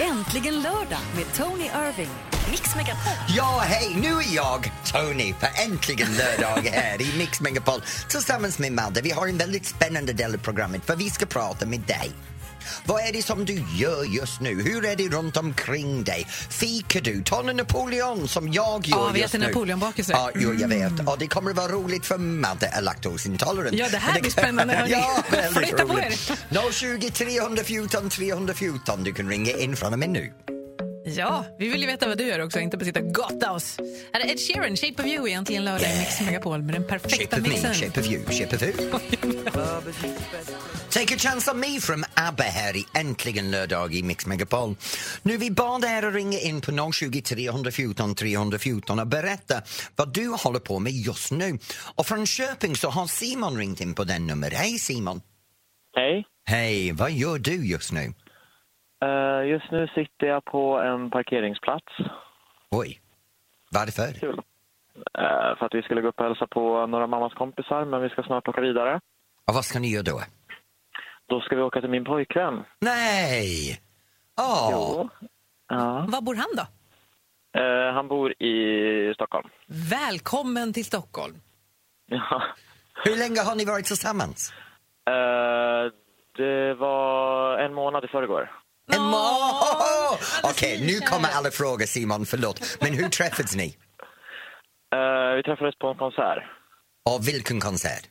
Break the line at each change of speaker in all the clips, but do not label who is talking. Äntligen lördag med Tony Irving. Mix Megapol.
Ja, hej, nu är jag, Tony, för äntligen lördag här i Mix Megapol tillsammans med Madde. Vi har en väldigt spännande del av programmet för vi ska prata med dig. Vad är det som du gör just nu? Hur är det runt omkring dig? Fikar du? Tar du Napoleon som jag gör
Ja, vi
just
äter
nu?
Napoleonbakelser.
Ja, jo, jag vet. Och det kommer att vara roligt för Madde är laktosintolerant.
Ja, det här
Och
blir spännande, hörni.
ja, väldigt
Flytta på
roligt. 020 314 314. Du kan ringa in från och med nu.
Ja, vi vill ju veta vad du gör också, inte bara sitta och gotta oss. Här är Ed Sheeran, Shape of You, egentligen lördag i Mix Megapol med den
Shape
perfekta
of me,
mixen.
shape of you, shape of who. Take a chance on me from ABBA här i Äntligen lördag i Mix Megapol. Nu vi bad er att ringa in på 020 314 314 och berätta vad du håller på med just nu. Och från Köping så har Simon ringt in på den nummer. Hej Simon!
Hej.
Hej, vad gör du just nu?
Eh, just nu sitter jag på en parkeringsplats.
Oj, varför?
eh, för att vi skulle gå upp och hälsa på några mammas kompisar, men vi ska snart åka vidare.
Och vad ska ni göra då?
Då ska vi åka till min pojkvän.
Nej! Åh,
Ja.
Var bor han då?
Eh, han bor i Stockholm.
Välkommen till Stockholm.
Ja.
hur länge har ni varit tillsammans?
Eh, det var en månad i förrgår.
En
Åh,
månad!
alldeles
Okej, nu
nykär.
kommer alla frågor Simon, förlåt. Men hur träffades ni?
Eh, vi träffades på en konsert.
Och vilken konsert?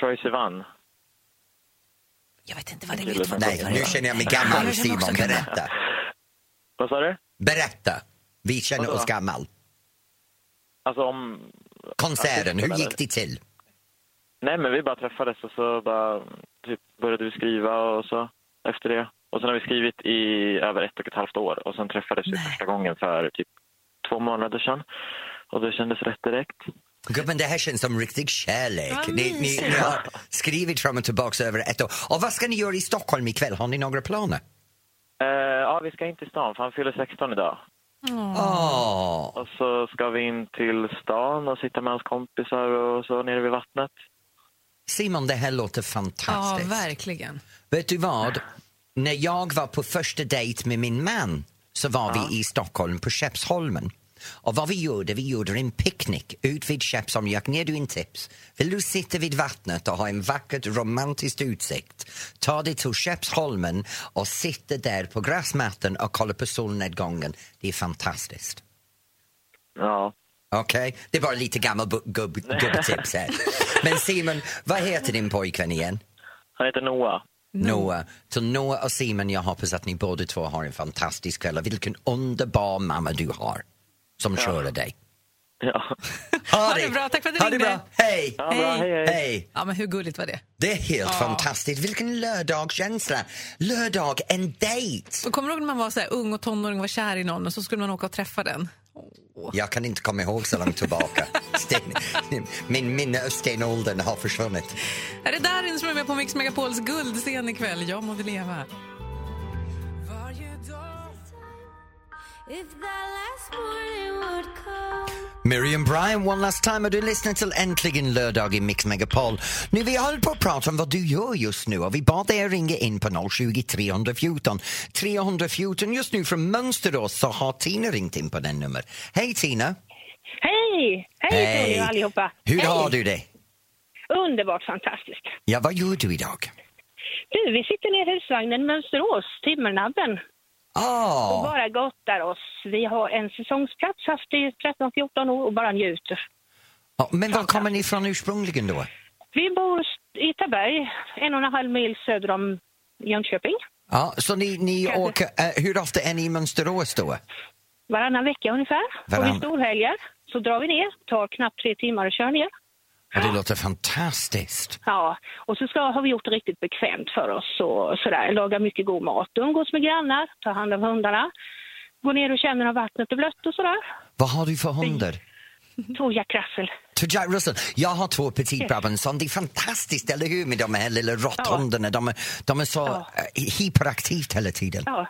Troye Sivan.
Jag vet inte vad det vet. Vad
Nej,
vad
nu
det-
känner jag mig
Jag
gammal
känner också
Simon,
gammal.
berätta.
Vad sa du?
Berätta. Vi känner oss gammal.
Alltså om...
Konserten, hur gick det till?
Nej, men vi bara träffades och så bara, typ, började vi skriva och så efter det. Och sen har vi skrivit i över ett och ett halvt år och sen träffades vi första gången för typ två månader sedan. Och det kändes rätt direkt.
Gubben, det här känns som riktig kärlek.
Vad
Ni, ni, ni
mysigt.
har skrivit fram och tillbaka över ett år. Och vad ska ni göra i Stockholm ikväll? Har ni några planer?
Eh, ja, vi ska in till stan för han fyller 16 idag.
Åh,
Och så ska vi in till stan och sitta med hans kompisar och så nere vid vattnet.
Simon, det här låter
Ja,
fantastiskt.
verkligen.
Vet du vad? När jag var på första dejt med min man så var vi i Stockholm på Skeppsholmen. Och vad vi gjorde, vi gjorde en picknick ut vid Skeppsholmen. Jag kan ge dig en tips. Vill du sitta vid vattnet och ha en vacker romantisk utsikt, ta dig till Skeppsholmen och sitta där på gräsmattan och kolla på solnedgången. Det är fantastiskt.
Ja.
Okej? Det är bara lite gammal bu- gubb- gubbtips här. Men Simon, vad heter din pojkvän igen?
Han heter Noah.
Noah. Till Noah och Simon, jag hoppas att ni båda två har en fantastisk kväll och vilken underbar mamma du har som ja. kör dig.
Ja,
Ha det bra, tack för att du
ha det
ringde.
bra. Hej!
ja bra. Hej, hej.
Hej!
Ja, men hur gulligt var det?
Det är helt fantastiskt. Vilken lördagskänsla. Lördag, en dejt.
Och kommer du ihåg när man var så här ung och tonåring och var kär i någon och så skulle man åka och träffa den?
Jag kan inte komma ihåg så långt tillbaka. Sten, min minne av stenåldern har försvunnit.
Är det Darin som är med på Mix Megapols guldscen ikväll? Jag må du leva.
Miriam Bryan, one last time och du lyssnar till Äntligen lördag i Mix Megapol. Nu vi håller på att prata om vad du gör just nu och vi bad dig att ringa in på 020 314 314. Just nu från Mönsterås så har Tina ringt in på den nummer. Hej Tina!
Hej! Hej, Tony och allihopa!
Hur
Hej.
har du det?
Underbart fantastiskt.
Ja, vad gör du idag?
Du, vi sitter ner i husvagnen Mönsterås, Timmernabben, och
Ah,
bara gottar oss. Vi har en säsongsplats haft i 13-14 år och bara njuter.
ja, men var kommer ni ifrån ursprungligen då?
Vi bor i Taberg, en och en halv mil söder om Jönköping.
Ja, så ni, ni
Kanske.
åker, eh, hur ofta är ni i Mönsterås då?
Varannan vecka ungefär. Och
Varann-
vid storhelger så drar vi ner, tar knappt tre timmar och kör ner.
Ja, det låter fantastiskt.
Ja, och så ska, har vi gjort det riktigt bekvämt för oss och sådär. Lagar mycket god mat, umgås med grannar, tar hand om hundarna, går ner och känner om vattnet är blött och sådär.
Vad har du för hundar?
Två Jack Russell.
Till Jack Russell. Jag har två petitbrabbantsson. Det är fantastiskt, eller hur, med de här lilla råtthundarna. De, är- de är så
Ja.
eh, hyperaktivt hela tiden.
Ja.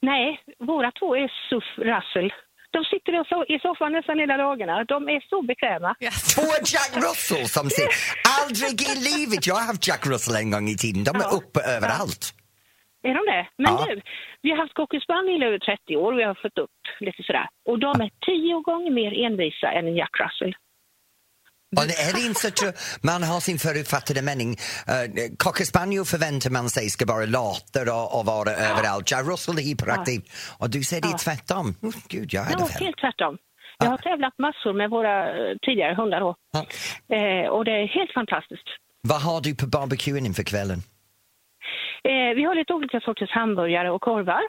Nej, våra två är Suff Russell. De sitter och so- i soffan nästan hela dagarna. De är så bekväma.
Yes.
Två Jack Russell som ser... Aldrig i livet! Jag har haft Jack Russell en gång i tiden. De är
Ja.
uppe överallt.
Är de det? Men
Ja.
nu, vi har haft Cocker Spaniel i över 30 år och vi har fått upp lite sådär. Och de är tio gånger mer envisa än en Jack Russell.
Och det är inte så tro- man har sin förutfattade mening. Uh, Cockerspaniel förväntar man sig ska vara later och, och vara överallt. Ja, Russell är hyperaktiv. Och du säger det är tvärtom. Oh, Gud, jag hade
Ja,
fel.
helt tvärtom. Jag har tävlat massor med våra eh, tidigare hundar då.
Ja.
Eh, och det är helt fantastiskt.
Vad har du på barbecuen inför kvällen?
Eh, vi har lite olika sorters hamburgare och korvar.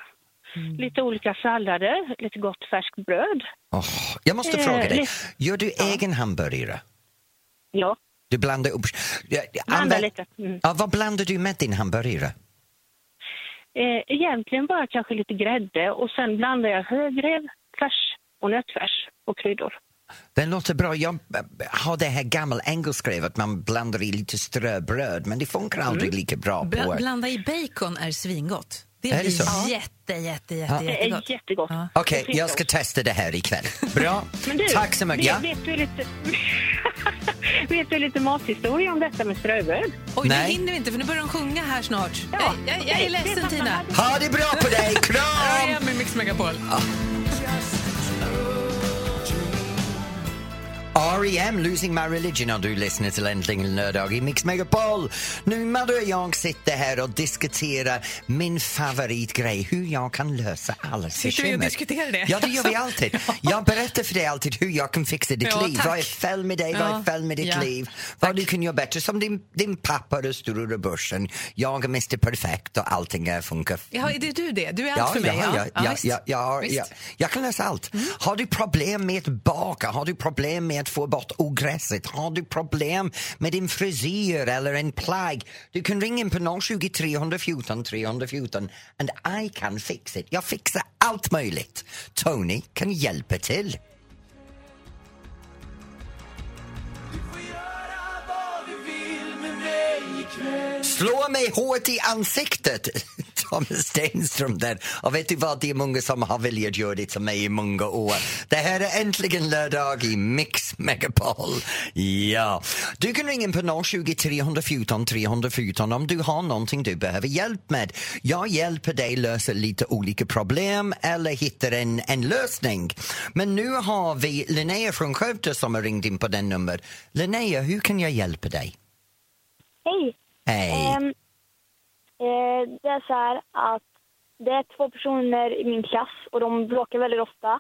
Mm.
Lite olika sallader, lite gott färskt bröd.
Åh, jag måste
Eh,
fråga dig,
lite-
gör du egen hamburgare?
Ja,
Du blandar upp... Ja, ja,
blanda
använd-
lite. Mm.
Ja, vad blandar du med din hamburgare?
Eh, egentligen bara kanske lite grädde och sen blandar jag högrev, färs och nötfärs och kryddor.
Den låter bra. Jag eh, har det här gamla engelskrevet, man blandar i lite ströbröd, men det funkar
Mm.
aldrig lika bra på...
Bla, blanda i bacon är svingott. Det
Är det
blir
så?
jätte, jätte, jätte,
Ja.
Det
jättegott.
är jättegott.
Ja.
Okej,
Det finns
jag ska
ost.
testa det här ikväll. Bra.
Men du,
Tack så mycket.
Vet,
Ja.
vet, du lite, vet du lite mathistoria om detta med ströbröd?
Oj, nu
Nej.
hinner vi inte för nu börjar de sjunga här snart.
Ja.
Jag, jag, jag är
Det- det
ledsen
är
Tina.
samma-
Ha det bra på dig!
Här är
Kram!
jag med Mix Megapol.
R.E.M. E Losing My Religion och du lyssnar till Äntligen lördag i Mix Megapol. Nu Madde och jag sitter här och diskuterar min favoritgrej, hur jag kan lösa alla
Sitter vi och diskuterar det?
Ja, det gör vi alltid. Jag berättar för dig alltid hur jag kan fixa ditt
Ja,
liv.
tack.
Vad är fel med dig? Vad
Ja.
är fel med ditt
Ja.
liv? Vad du kan göra bättre? Som din, din pappa och stora börsen. Jag är Mr Perfekt och allting eh, funkar
Jaha, är det du det? Du är allt för mig?
Ja, ja, ja,
visst.
ja, ja,
Visst. Mm.
ja. Jag kan lösa allt. Har du problem med att baka? Har du problem med att få bort ogräset? Har du problem med din frisyr eller en plagg? Du kan ringa in på 020 314 314 and I can fix it. Jag fixar allt möjligt. Tony kan hjälpa till. Slå mig hårt i ansiktet! Thomas Stenström där. Och vet du vad, det är många som har velat göra det till mig i många år. Det här är äntligen lördag i Mix Megapol. Ja. Du kan ringa in på 020 314 314 om du har någonting du behöver hjälp med. Jag hjälper dig lösa lite olika problem eller hittar en, en lösning. Men nu har vi Linnea från Skövde som har ringt in på den numret. Linnea, hur kan jag hjälpa dig?
Hej.
Hej!
Ehm, eh, det är så här att det är två personer i min klass och de bråkar väldigt ofta.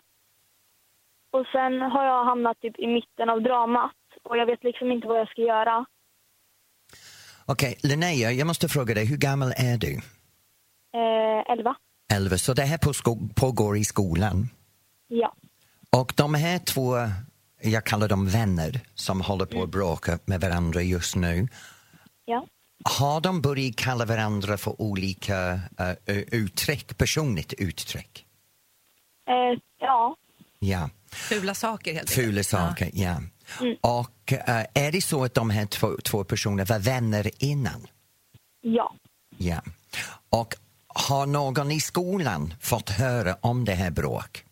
Och sen har jag hamnat typ i mitten av dramat och jag vet liksom inte vad jag ska göra.
Okej, Linnea, jag måste fråga dig, hur gammal är du?
Eh, elva?
Elva, så det här på sko- pågår i skolan.
Ja.
Och de här två, jag kallar dem vänner, som håller på att bråka med varandra just nu.
Ja.
Har de börjat kalla varandra för olika eh, ö- uttryck, personligt uttryck?
Eh, ja.
Ja,
Fula saker helt enkelt.
fula saker, ja. Och eh, är det så att de här två, två personerna var vänner innan?
Ja.
Ja. Och har någon i skolan fått höra om det här bråk?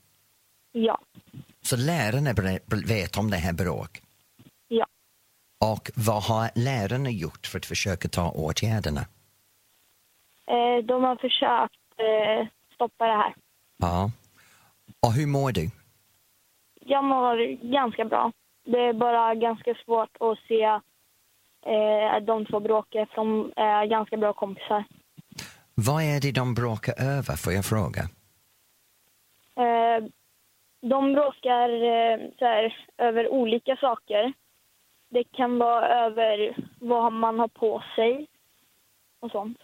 Ja.
Så lärarna bre- vet om det här bråk.
Ja.
Och vad har lärarna gjort för att försöka ta åtgärderna?
Eh, de har försökt eh, stoppa det här.
Ja. Och hur mår du?
Jag mår ganska bra. Det är bara ganska svårt att se eh, att de två bråkar för de är ganska bra kompisar.
Vad är det de bråkar över, får jag fråga?
Eh, de bråkar eh, så här, över olika saker. Det kan vara över vad man har på sig och sånt.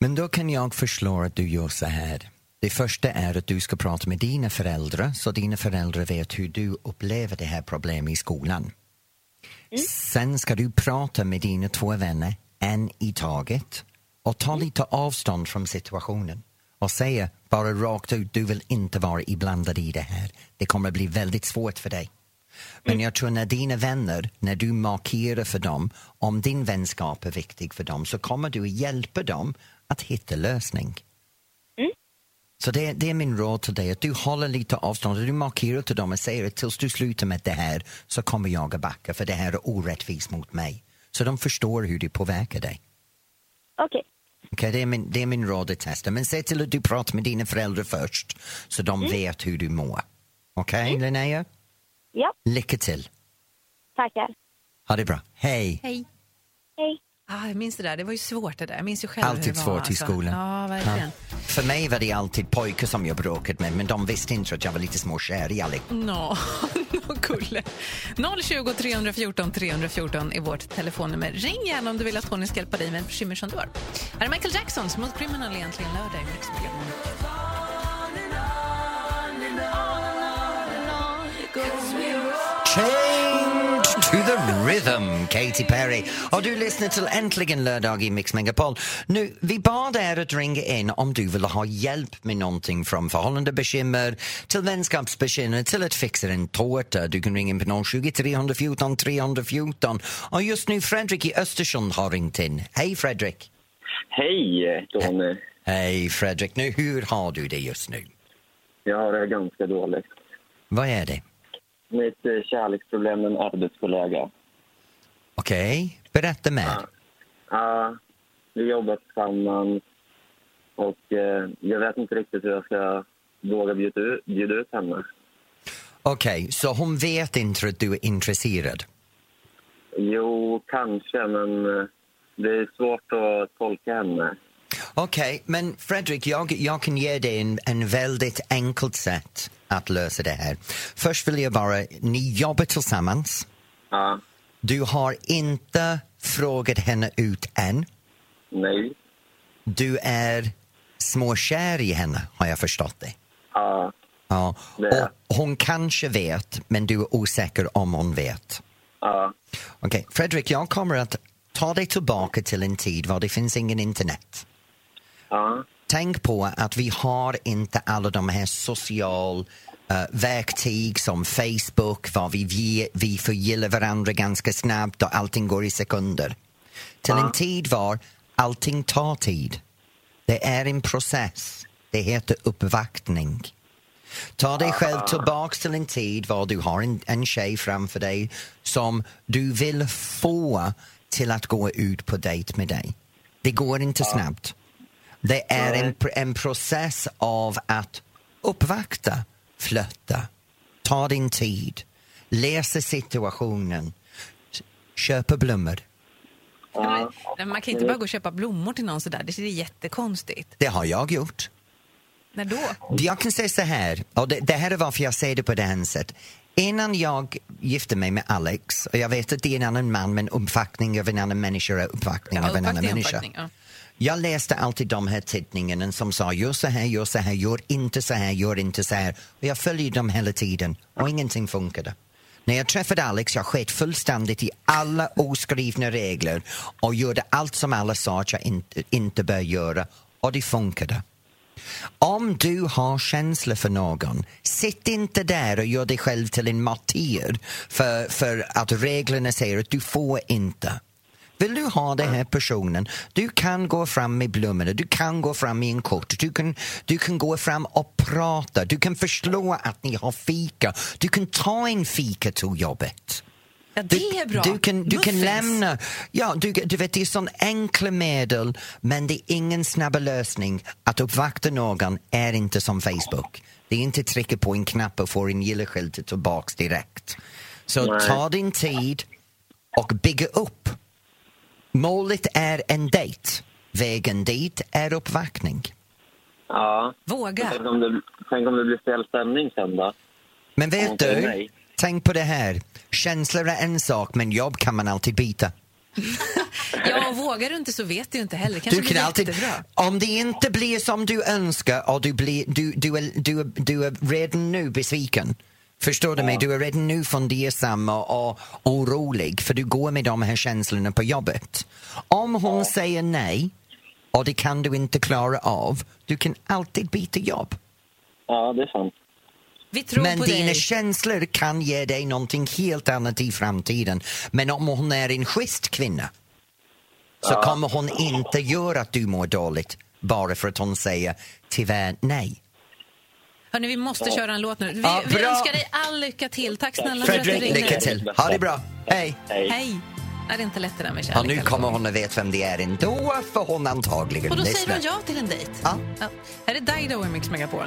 Men då kan jag förslå att du gör så här. Det första är att du ska prata med dina föräldrar så dina föräldrar vet hur du upplever det här problemet i skolan. Sen ska du prata med dina två vänner, en i taget och ta lite avstånd från situationen och säga bara rakt ut, du vill inte vara inblandad i det här. Det kommer bli väldigt svårt för dig. Men jag tror när dina vänner, när du markerar för dem om din vänskap är viktig för dem så kommer du att hjälpa dem att hitta lösning. Så det, det är min råd till dig, att du håller lite avstånd och du markerar till dem och säger att tills du slutar med det här så kommer jag att backa för det här är orättvist mot mig. Så de förstår hur det påverkar dig.
Okej.
Okej, det, är min, det är min råd att testa. Men se till att du pratar med dina föräldrar först så de vet hur du mår. Okej, Linnea?
Ja,
Lycka till.
tackar.
Ha det bra. Hej!
Hej.
Hej.
Ah, jag minns det där. Det var ju svårt det där. Jag minns ju själv hur
Alltid
det var,
svårt i
alltså.
skolan.
Ja, verkligen.
För mig var det alltid pojkar som jag bråkat med men de visste inte att jag var lite småkär i Alec.
Nå, nå kulle. 020 314 314 är vårt telefonnummer. Ring gärna om du vill att Tony ska hjälpa dig med bekymmer som du har. Här är Michael Jackson, Smooth Criminal egentligen lördag i Mix Megapol.
Change to the rhythm, Katy Perry. Och du lyssnar till Äntligen lördag i Mix Megapol. Nu, vi bad er att ringa in om du vill ha hjälp med någonting från förhållandebekymmer till vänskapsbekymmer till att fixa en tårta. Du kan ringa in på 020 314 314. Och just nu Fredrik i Östersund har ringt in. Hej Fredrik!
Hej, Tony.
Hej Fredrik! Nu, hur har du det just nu?
Jag har det ganska dåligt.
Vad är det?
Mitt eh, kärleksproblem med en arbetskollega.
Okej, berätta mer.
Ja, vi jobbar tillsammans och eh, jag vet inte riktigt hur jag ska våga bjuda ut, bjuda ut henne.
Okej, så hon vet inte att du är intresserad?
Jo, kanske, men eh, det är svårt att tolka henne.
Okej, men Fredrik, jag, jag kan ge dig en, en väldigt enkelt sätt att lösa det här. Först vill jag bara, ni jobbar tillsammans.
Ja,
Du har inte frågat henne ut än.
nej.
Du är småkär i henne, har jag förstått det.
Ja,
Ja.
Det är jag.
Och hon kanske vet, men du är osäker om hon vet.
ja,
Okej, Fredrik, jag kommer att ta dig tillbaka till en tid var det finns ingen internet.
ja,
tänk på att vi har inte alla de här social eh, verktyg som Facebook, var vi, vi, vi förgillar varandra ganska snabbt och allting går i sekunder. Till en tid var allting tar tid. Det är en process. Det heter uppvaktning. Ta dig själv tillbaks till en tid var du har en, en tjej framför dig som du vill få till att gå ut på dejt med dig. Det går inte snabbt. Det är en, pr- en process av att uppvakta, flötta, ta din tid, läsa situationen, s- köpa blommor.
Men, men man kan inte bara gå och köpa blommor till någon sådär. Det är jättekonstigt.
Det har jag gjort.
När då?
Jag kan säga så här, och det, det här är varför jag säger det på det här sättet. Innan jag gifte mig med Alex, och jag vet att det är en annan man men uppvaktning av en annan människa är uppvaktning av en annan
uppvaktning,
människa.
uppvaktning, ja.
Jag läste alltid de här tidningarna som sa gör så här, gör så här, gör inte så här, gör inte så här. Och jag följde dem hela tiden och ingenting funkade. När jag träffade Alex jag sket fullständigt i alla oskrivna regler och gjorde allt som alla sa att jag inte, inte bör göra och det funkade. Om du har känslor för någon, sitt inte där och gör dig själv till en martyr för, för att reglerna säger att du får inte. Vill du ha den här personen, du kan gå fram med blommorna, du kan gå fram med en kort, du kan, du kan gå fram och prata, du kan förstå att ni har fika, du kan ta en fika till jobbet.
Ja,
Du,
det är bra.
Du kan, du kan
Muffins.
lämna. Ja, du, du vet, det är sån enkla medel men det är ingen snabb lösning. Att uppvakta någon är inte som Facebook. Det är inte trycka på en knapp och få en gilleskylt tillbaks direkt. Så
Nej.
ta din tid och bygga upp. Målet är en dejt. Vägen dit är uppvaktning.
ja.
Våga.
Tänk om det, tänk om det blir fel stämning sen då?
Men
Om
vet
det är
du,
nej.
tänk på det här. Känslor är en sak men jobb kan man alltid byta.
Ja, och vågar du inte så vet du ju inte heller. Kanske
Du kan
blir
alltid,
jättebra.
om det inte blir som du önskar och du, blir, du, du, är, du, är, du är redan nu besviken. Förstår du mig? Du är redan nu fundersam och, och orolig för du går med de här känslorna på jobbet. Om hon säger nej och det kan du inte klara av, du kan alltid byta jobb.
Ja, det är sant.
Vi tror
Men
på
dina
dig.
känslor kan ge dig någonting helt annat i framtiden. Men om hon är en schysst kvinna så kommer hon inte göra att du mår dåligt bara för att hon säger tyvärr nej.
Hörni, vi måste köra en låt nu. Vi,
Ja,
vi
bra.
önskar dig all lycka till. Tack snälla för att du
Fredrik,
ringde.
lycka till. Ha det bra. Hej.
Hej.
Hej. Är det inte lätt det där med kärlek?
Ja, nu
alltså?
kommer hon att veta vem det är ändå, för hon antagligen
Och då säger
lyssnar.
hon ja till en dejt?
Ja.
Här är Dido i Mix Megapol.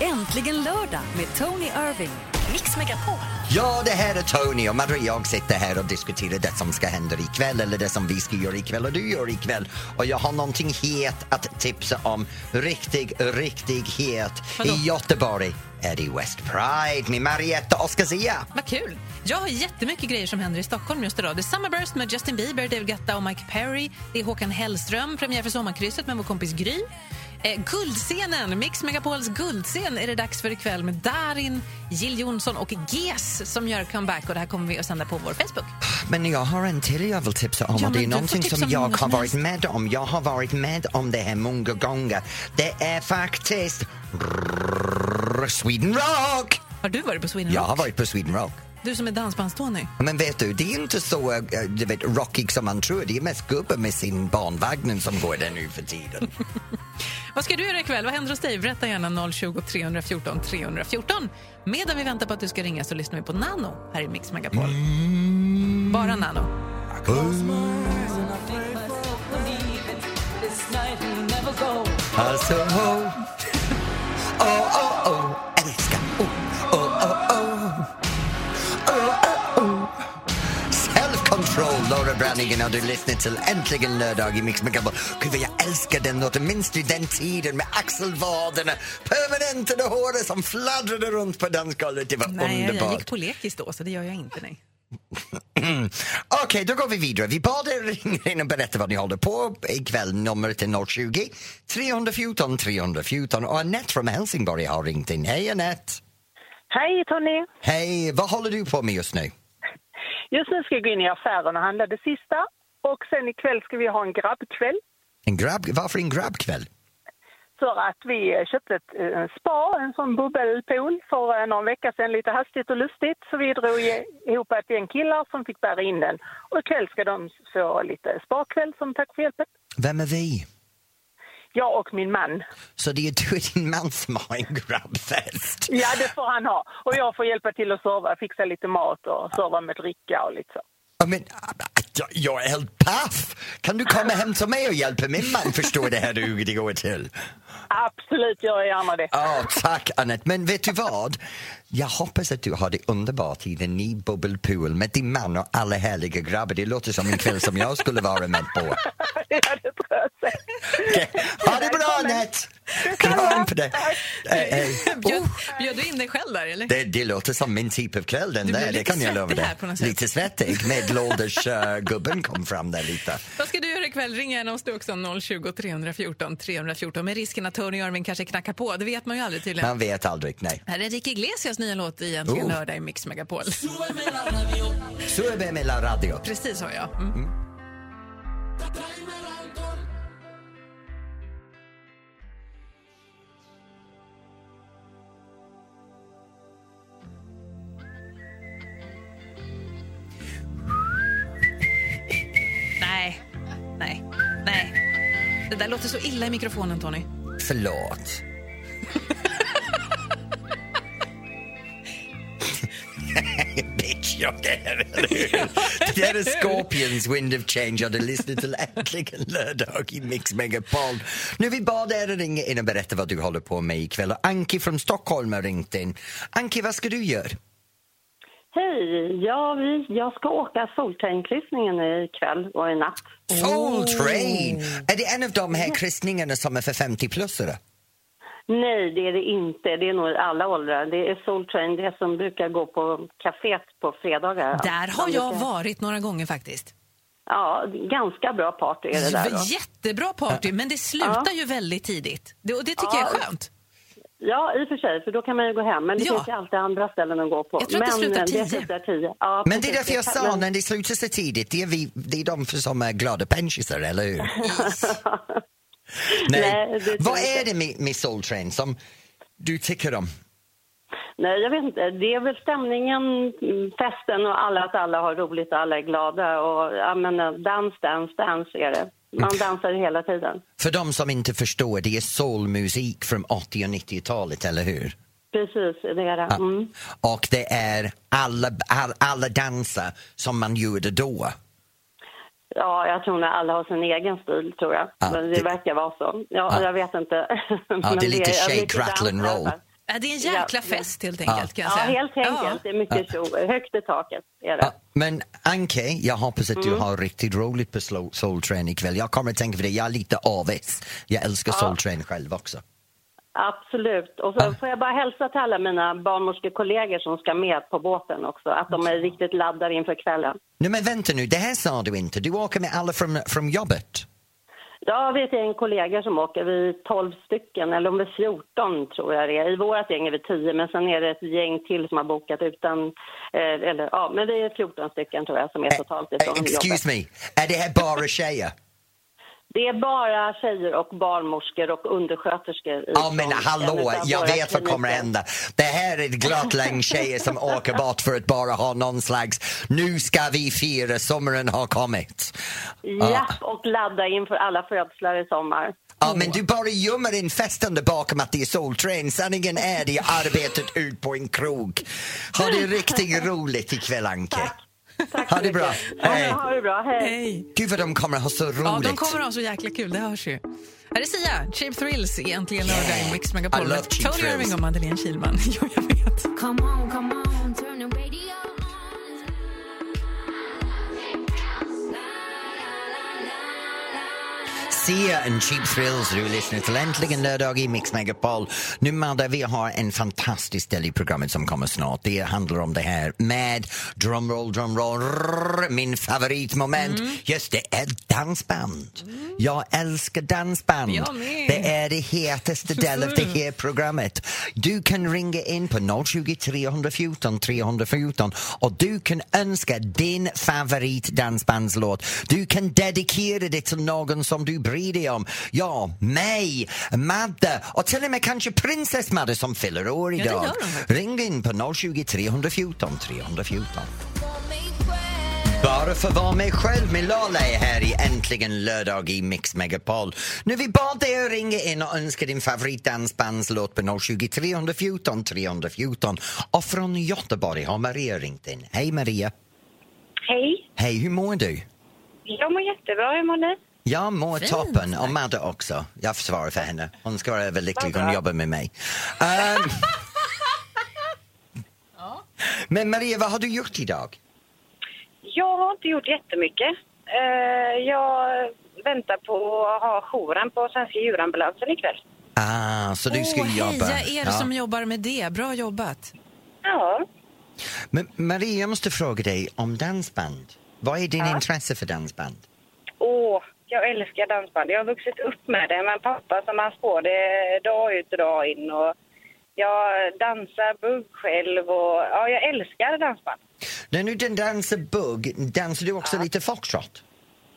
Äntligen lördag med Tony Irving. Mix Megapol.
Ja, det här är Tony och Maria och jag sitter här och diskuterar det som ska hända ikväll eller det som vi ska göra ikväll och du gör ikväll. Och jag har någonting het att tipsa om. Riktig, riktig het.
Vadå?
I Göteborg är det West Pride med Marietta Oscarzia.
Vad kul! Jag har jättemycket grejer som händer i Stockholm just idag. Det är Summerburst med Justin Bieber, David Guetta och Mike Perry. Det är Håkan Hellström, premiär för Sommarkrysset med vår kompis Gry. Eh, guldscenen, Mix Megapols guldscen är det dags för ikväll med Darin, Jill Johnson och GES som gör comeback. Och det här kommer vi att sända på vår Facebook.
Men jag har en till jag vill tipsa om
Ja,
och det är
men du får
någonting
tipsa
som
om
jag
många
har
som
varit
helst.
med om. Jag har varit med om det här många gånger. Det är faktiskt Sweden Rock!
Har du varit på Sweden
Jag
Rock?
har varit på Sweden Rock.
Du som är dansbands-Tony.
Men vet du, det är inte så eh, du vet, rockig som man tror. Det är mest gubbar med sin barnvagn som går där nu för tiden.
Vad ska du göra ikväll? Vad händer hos dig? Berätta gärna 020 314 314. Medan vi väntar på att du ska ringa så lyssnar vi på Nano här i Mix Megapol. Bara Nano.
Alltså, oh, oh, oh, oh, älskar, oh, oh, oh, oh, oh, oh, oh. Self-control, Laura Branningen och du lyssnar till Äntligen lördag i Mix Megapol. Gud vad jag älskar den låten, minns du den tiden med axelvaderna, permanentade håret som fladdrade runt på dansgolvet? Det var
Nej, jag- jag
underbart.
gick på lekis då, så det gör jag inte. Nej.
Okej, då går vi vidare. Vi bad er ringa in och berätta vad ni håller på ikväll. Numret är 020 314 314 och Annette från Helsingborg har ringt in. Hej Annette!
Hej Tony!
Hej, vad håller du på med just nu?
Just nu ska jag gå in i affären och handla det sista. Och sen ikväll ska vi ha en grabbkväll.
En grabb, varför en grabbkväll?
För att vi eh, köpte ett eh, en spa, en sån bubbelpool, för eh, någon vecka sedan lite hastigt och lustigt. Så vi drog i- ihop ett gäng killar som fick bära in den. Och ikväll ska de få lite spakväll som tack för hjälpen.
Vem är vi?
Jag och min man.
Så det är du och din man som har en grabbfest.
Ja, det får han ha. Och jag får hjälpa till att serva, fixa lite mat och serva med dricka och lite så.
Ja, Men, jag- jag är helt paff! Kan du komma hem till mig och hjälpa min man förstå det här hur det går till?
Absolut, gör jag gärna det.
Ja, tack Annette. Men vet du vad? Jag hoppas att du har det underbart i din ny bubbelpool med din man och alla härliga grabbar. Det låter som en kväll som jag skulle vara med på.
Ja, det tror jag säkert.
Okej. Ha det bra Annette! Kram på dig! Hej, hej.
Bjöd, bjöd du in dig själv där, eller?
Det, det låter som min typ av kväll den
Du blev
där, det
lite
kan jag lova
svettig
dig.
här på något sätt.
Lite svettig, medelålders uh, gubben kom fram där lite.
Vad ska du göra ikväll? Ring gärna oss du också, 020 314 314. Med risken att Tony Irving kanske knackar på, det vet man ju aldrig tydligen.
Man vet aldrig, nej.
Här är Enrique Iglesias nya låt i Äntligen
Oh.
lördag i Mix Megapol.
Så är det med la radio.
Precis har jag. Mm. Nej, nej, nej. Det där låter så illa i mikrofonen, Tony.
Förlåt. Bitch, jag är Det här är Scorpions Wind of Change och du lyssnar till Äntligen lördag i Mix Megapol. Nu vi bad er ringa in och berätta vad du håller på med ikväll och Anki från Stockholm har ringt in. Anki, vad ska du göra?
Hej! Ja, vi, jag ska åka Soltränkryssningen ikväll och i natt.
Soul Train! Är det en av de här kryssningarna som är för 50-plussare?
Nej, det är det inte. Det är nog i alla åldrar. Det är Soltrain, det som brukar gå på kaféet på fredagar.
Där har
De
jag
brukar-
varit några gånger faktiskt.
Ja, ganska bra party är det där. Då.
Jättebra party, men det slutar ju väldigt tidigt. Det, och det tycker jag är skönt.
Ja, i och för sig, för då kan man ju gå hem. Men det
Ja.
finns ju alltid andra ställen att gå på.
Jag tror att
men,
det slutar
eh,
tio.
slutar tio. Ja,
Men det är
precis.
därför jag
kan-
sa,
men-
när det slutar så tidigt, det är, vi, det är de för- som är glada pensionärer, eller hur? Nej.
Nej, det tror
Vad
jag
är
inte.
det med, med Soul Train som du tycker om?
Nej, jag vet inte. Det är väl stämningen, mm, festen och alla att alla har roligt och alla är glada. Och, jag menar, dans, dans, dans är det. Man dansar hela tiden.
För de som inte förstår, det är soulmusik från 80 och 90-talet, eller hur?
Precis, det är det. Mm.
Och det är alla, all, alla danser som man gjorde då.
Ja, jag tror nog alla har sin egen stil, tror jag.
Ja,
Men det,
det-
verkar vara så. Ja,
Ja.
Jag vet inte.
Ja,
Men
det är lite shake,
mycket
rattle and
dans i alla
roll.
fall.
Ja, det är en jäkla fest helt enkelt. Kan
Ja,
jag säga.
helt enkelt. Det är mycket show. Högt i taket är det.
Ja, men Anke, jag hoppas att du
Mm.
har riktigt roligt på Slo- Soul Train ikväll. Jag kommer att tänka på det, jag är lite avis. Jag älskar Soul Train själv också.
Absolut. Och så får jag bara hälsa till alla mina barnmorskekollegor som ska med på båten också, att de är riktigt laddade inför kvällen.
Nej men vänta nu, det här sa du inte. Du åker med alla från, från jobbet.
Jag vet en kollega som åker, vi är 12 stycken, eller om vi är 14 tror jag det är. I vårt gäng är vi 10, men sen är det ett gäng till som har bokat utan, eh, eller ja, men vi är 14 stycken tror jag som är totalt
Eh,
ifrån jobbet.
Excuse me, är det här bara tjejer?
Det är bara tjejer och barnmorskor och undersköterskor.
Ja
ifrån
men
en
hallå,
utav
jag
våra
vet vad kommer att
kliniker.
hända. Det här är ett glatt gäng tjejer som åker bort för att bara ha någon slags nu ska vi fira, sommaren har kommit.
Ja, och ladda inför alla födslar i sommar.
Ja, men du bara gömmer in festande bakom att det är soltrain. Sanningen är det är arbetet ut på en krog. Ha det riktigt roligt ikväll, Anke.
Tack
Ha
så
det bra.
mycket. Ja,
Hej.
Ha det bra, hej.
Hej.
Gud vad de kommer att ha så roligt.
Ja, de kommer ha så jäkla kul, det hörs ju. Här är Sia, Cheap Thrills, egentligen lördag i Mix
I
Megapol
love
med
Cheap
Tony
Thrills.
Irving och Madeleine Kilman. Jo, jag vet.
Sia and Cheap Thrills, du lyssnar till Äntligen lördag i Mix Megapol. Nu Madde, vi har en fantastisk del i programmet som kommer snart. Det handlar om det här med, drumroll, drumroll, rrrr, min favoritmoment.
Mm.
Just det, är dansband. Jag älskar dansband.
Jag med.
Det är det hetaste delen av det här programmet. Du kan ringa in på 020 314 314 och du kan önska din favorit dansbandslåt. Du kan dedikera det till någon som du bryr dig om. Ja, mig, Madde och till och med kanske prinsess Madde som fyller år
det gör
idag.
hon.
Ring in på 020 314 314. Bara för att vara mig själv med Lala är här i Äntligen lördag i Mix Megapol. Nu vi bad dig att ringa in och önska din favoritdansbandslåt på 020 314 314. Och från Göteborg har Maria ringt in. Hej Maria!
Hej,
Hej, hur mår du?
jag mår jättebra. Hur mår ni?
Jag mår toppen och Madde också. Jag svarar för henne. Hon ska vara överlycklig, hon jobbar med mig. Ehm. Men Maria, vad har du gjort idag?
Jag har inte gjort jättemycket. Eh, jag väntar på att ha jouren på Svenska djurambulansen ikväll.
Ah, så du ska
Åh,
jobba.
Heja er
Ja.
som jobbar med det, bra jobbat.
Ja.
Men Maria, jag måste fråga dig om dansband. Vad är din intresse för dansband?
Åh, jag älskar dansband. Jag har vuxit upp med det, men pappa som han spår det dag ut och dag in. Och jag dansar bugg själv och ja, jag älskar dansband.
När du den dansar bugg, dansar du också lite foxtrot?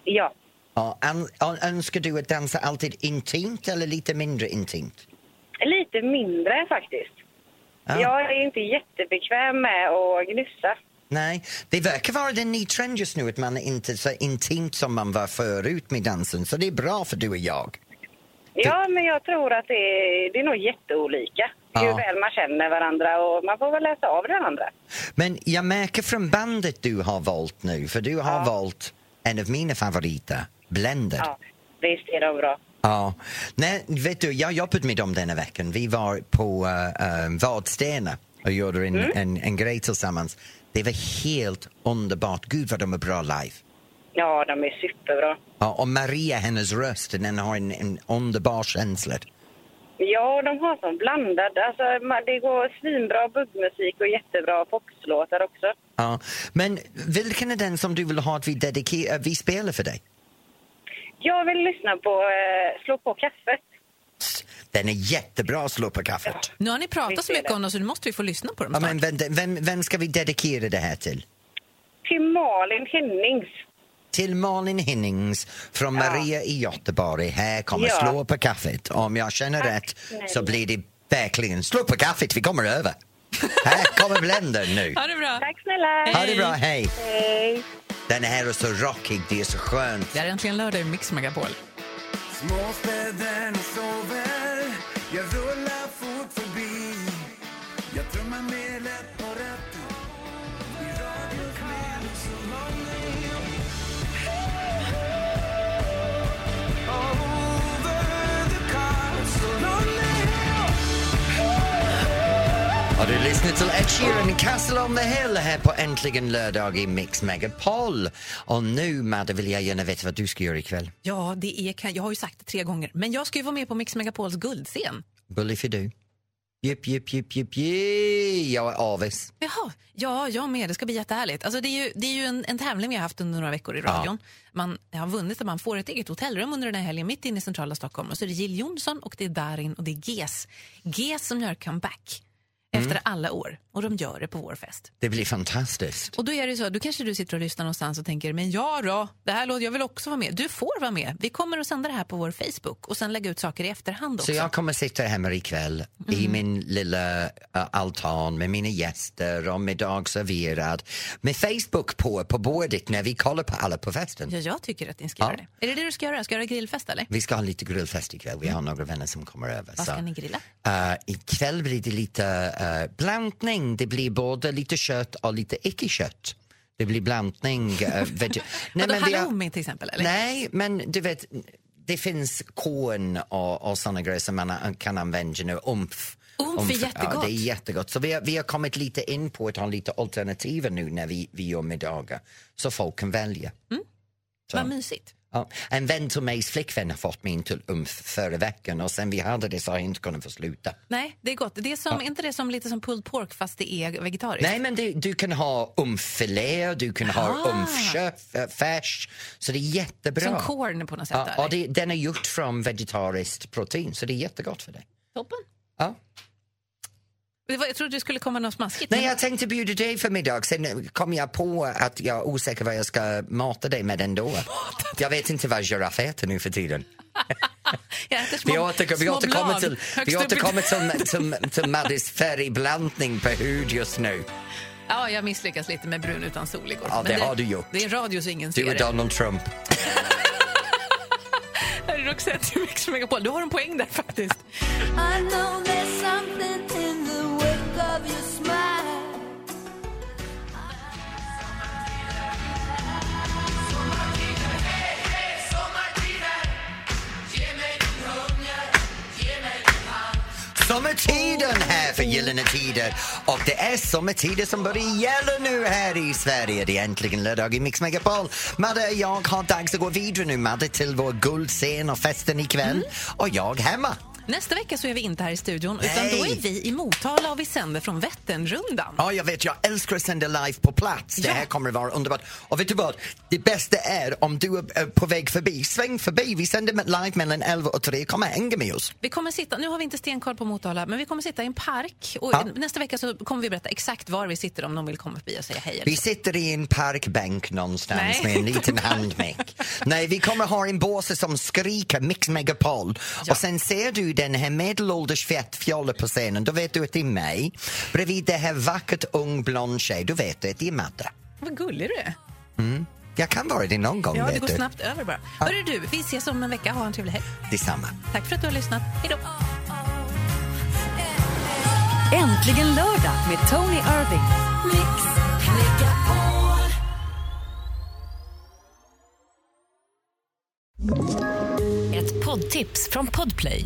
Ja.
Ja, an- ö- önskar du att dansa alltid intimt eller lite mindre intimt?
Lite mindre faktiskt.
Ja.
Jag är inte jättebekväm med att gnussa.
Nej, det verkar vara en ny trend just nu att man är inte så intimt som man var förut med dansen, så det är bra för du och jag.
Ja, men jag tror att det är, det är nog jätteolika.
Ja.
Hur väl man känner varandra och man får väl läsa av varandra.
Men jag märker från bandet du har valt nu, för du har valt en av mina favoriter, Blended.
Ja, visst är de bra.
Ja. Nej, vet du, jag har jobbat med dem denna veckan. Vi var på uh, Vadstena och gjorde en, en, en grej tillsammans. Det var helt underbart. Gud vad de är bra live.
Ja, de är superbra.
Ja, och Maria, hennes röst, den har en, en underbar känsla.
Ja, de har sån blandad. Alltså, ma- det går svinbra buggmusik och jättebra popslåtar också.
Ja. Men vilken är den som du vill ha att vi, dedikerar, eh, vi spelar för dig?
Jag vill lyssna på eh, Slå på kaffet.
Den är jättebra, slå på kaffet.
Nu har ni pratat
Visst
så
är
mycket
det.
om dem så nu måste vi få lyssna på dem
Ja,
snart.
men vem, vem, vem ska vi dedikera det här till?
Till Malin Hennings.
till Malin Hinnings från Maria i Göteborg. Här kommer
Ja.
slå på kaffet. Om jag känner rätt så blir det verkligen slå på kaffet, vi kommer över. här kommer bländen nu.
Ha det bra.
Tack snälla!
Ha det bra, hej!
Hej.
Den här är så rockig, det är så skönt.
Det är äntligen lördag i Mix Megapol.
Småstäderna sover Jag rullar fort förbi Jag trummar med lätt på ratten I radio med så lång Over the castle
Ja, du lyssnar till Ed Sheeran, Castle on the Hill här på Äntligen lördag i Mix Megapol. Och nu, Madde, vill jag gärna veta vad du ska göra ikväll.
Ja, det är, kan- jag har ju sagt det tre gånger, men jag ska ju vara med på Mix Megapols guldscen.
Bully för du. Jupp, jupp, jupp, jupp, jupp. Jag är avis.
Jaha, ja, jag med. Det ska bli jättehärligt. Alltså, det är ju, det är ju en, en tävling vi har haft under några veckor i radion. Man har vunnit att man får ett eget hotellrum under den här helgen mitt inne i centrala Stockholm. Och så är det Jill Johnson och det är Darin och det är GES. GES som gör comeback
Mm.
efter alla år. Och de gör det på vår fest.
Det blir fantastiskt.
Och då är det ju så, då kanske du sitter och lyssnar någonstans och tänker, men ja då, det här låter, jag vill också vara med. Du får vara med. Vi kommer att sända det här på vår Facebook och sen lägga ut saker i efterhand också. Mm.
Så jag kommer sitta hemma ikväll i min lilla eh, altan med mina gäster och middag serverad. Med Facebook på, på bordet när vi kollar på alla på festen.
Ja, jag tycker att ni ska
Ja.
göra det. Är det det du ska göra? Ska du göra grillfest eller?
Vi ska ha lite grillfest ikväll. Vi har några vänner som kommer över.
Vad
så.
ska ni grilla?
Uh, ikväll blir det lite uh, blandning. Det blir både lite kött och lite icke-kött. Det blir blandning. eh, veg- Nej,
Vadå,
vi har-
halloumi till exempel? Eller?
Nej, men du vet, det finns korn och, och såna grejer som man a- kan använda nu. Umf.
Umf är jättegott.
Ja, det är jättegott. Så vi har, vi har kommit lite in på att ha lite alternativ nu när vi, vi gör middagar, så folk kan välja.
Mm. Vad mysigt.
Ja. En vän till mig, flickvän, har fått min till umf förra veckan och sen vi hade det så har jag inte kunnat få sluta.
Nej, det är gott. Det är som, inte det som lite som pulled pork fast det är vegetariskt?
Nej, men du, du kan ha umfilé, du kan ha
Ah.
umfkött, äh, färs. Så det är jättebra.
Som corn på något sätt?
Ja,
eller?
och det, den är gjort från vegetariskt protein, så det är jättegott för dig.
Toppen.
Ja.
Det var, jag trodde det skulle komma något smaskigt.
Nej,
men-
jag tänkte bjuda dig för middag, sen eh, kom jag på att jag är osäker vad jag ska mata dig med ändå. Jag vet inte vad giraff äter nu för tiden.
jag äter små,
Vi, återkom, vi
små
återkommer
blad
till,
högst
vi
upp i-
återkommer till, till, till Maddys färgblandning på hud just nu.
Ja, jag misslyckas lite med brun utan sol igår.
Ja,
Men
det har du gjort.
Det är radio så ingen
Du
ser
och Donald Trump.
det. Här är Roxette i Mix Megapol. Du har en poäng där faktiskt.
I know there's something in the wake of your smile.
Sommartiden här för Gyllene Tider och det är sommartider som börjar gälla nu här i Sverige. Det är äntligen lördag i Mix Megapol. Madde och jag har dags att gå vidare nu Madde till vår guldscen och festen ikväll och jag hemma.
Nästa vecka så är vi inte här i studion, utan
Nej.
då är vi i Motala och vi sänder från Vätternrundan.
Ja, jag vet, jag älskar att sända live på plats. Det
Ja.
här kommer att vara underbart. Och vet du vad? Det bästa är om du är eh, på väg förbi, sväng förbi. Vi sänder med- live mellan 11 och 3. Kom och häng med oss.
Vi kommer sitta, nu har vi inte stenkoll på Motala, men vi kommer sitta i en park. Och
Ja.
Nästa vecka så kommer vi berätta exakt var vi sitter om någon vill komma förbi och säga hej. Eller.
Vi sitter i en parkbänk någonstans
Nej.
med en liten handmick. Nej, vi kommer ha en båse som skriker Mix Megapol. Och sen ser du den här medelålders fettfjollen på scenen, då vet du att det är mig. Bredvid det här vackert ung blond tjej, då vet du att det är Madde.
Vad gullig du är.
Jag kan vara det någon gång,
Ja, det
vet
går
du.
snabbt över bara. Hörru du, vi ses om en vecka. Ha en trevlig helg.
Detsamma.
Tack för att du har lyssnat. Hej då.
Äntligen lördag med Tony Irving. Ett poddtips från Podplay.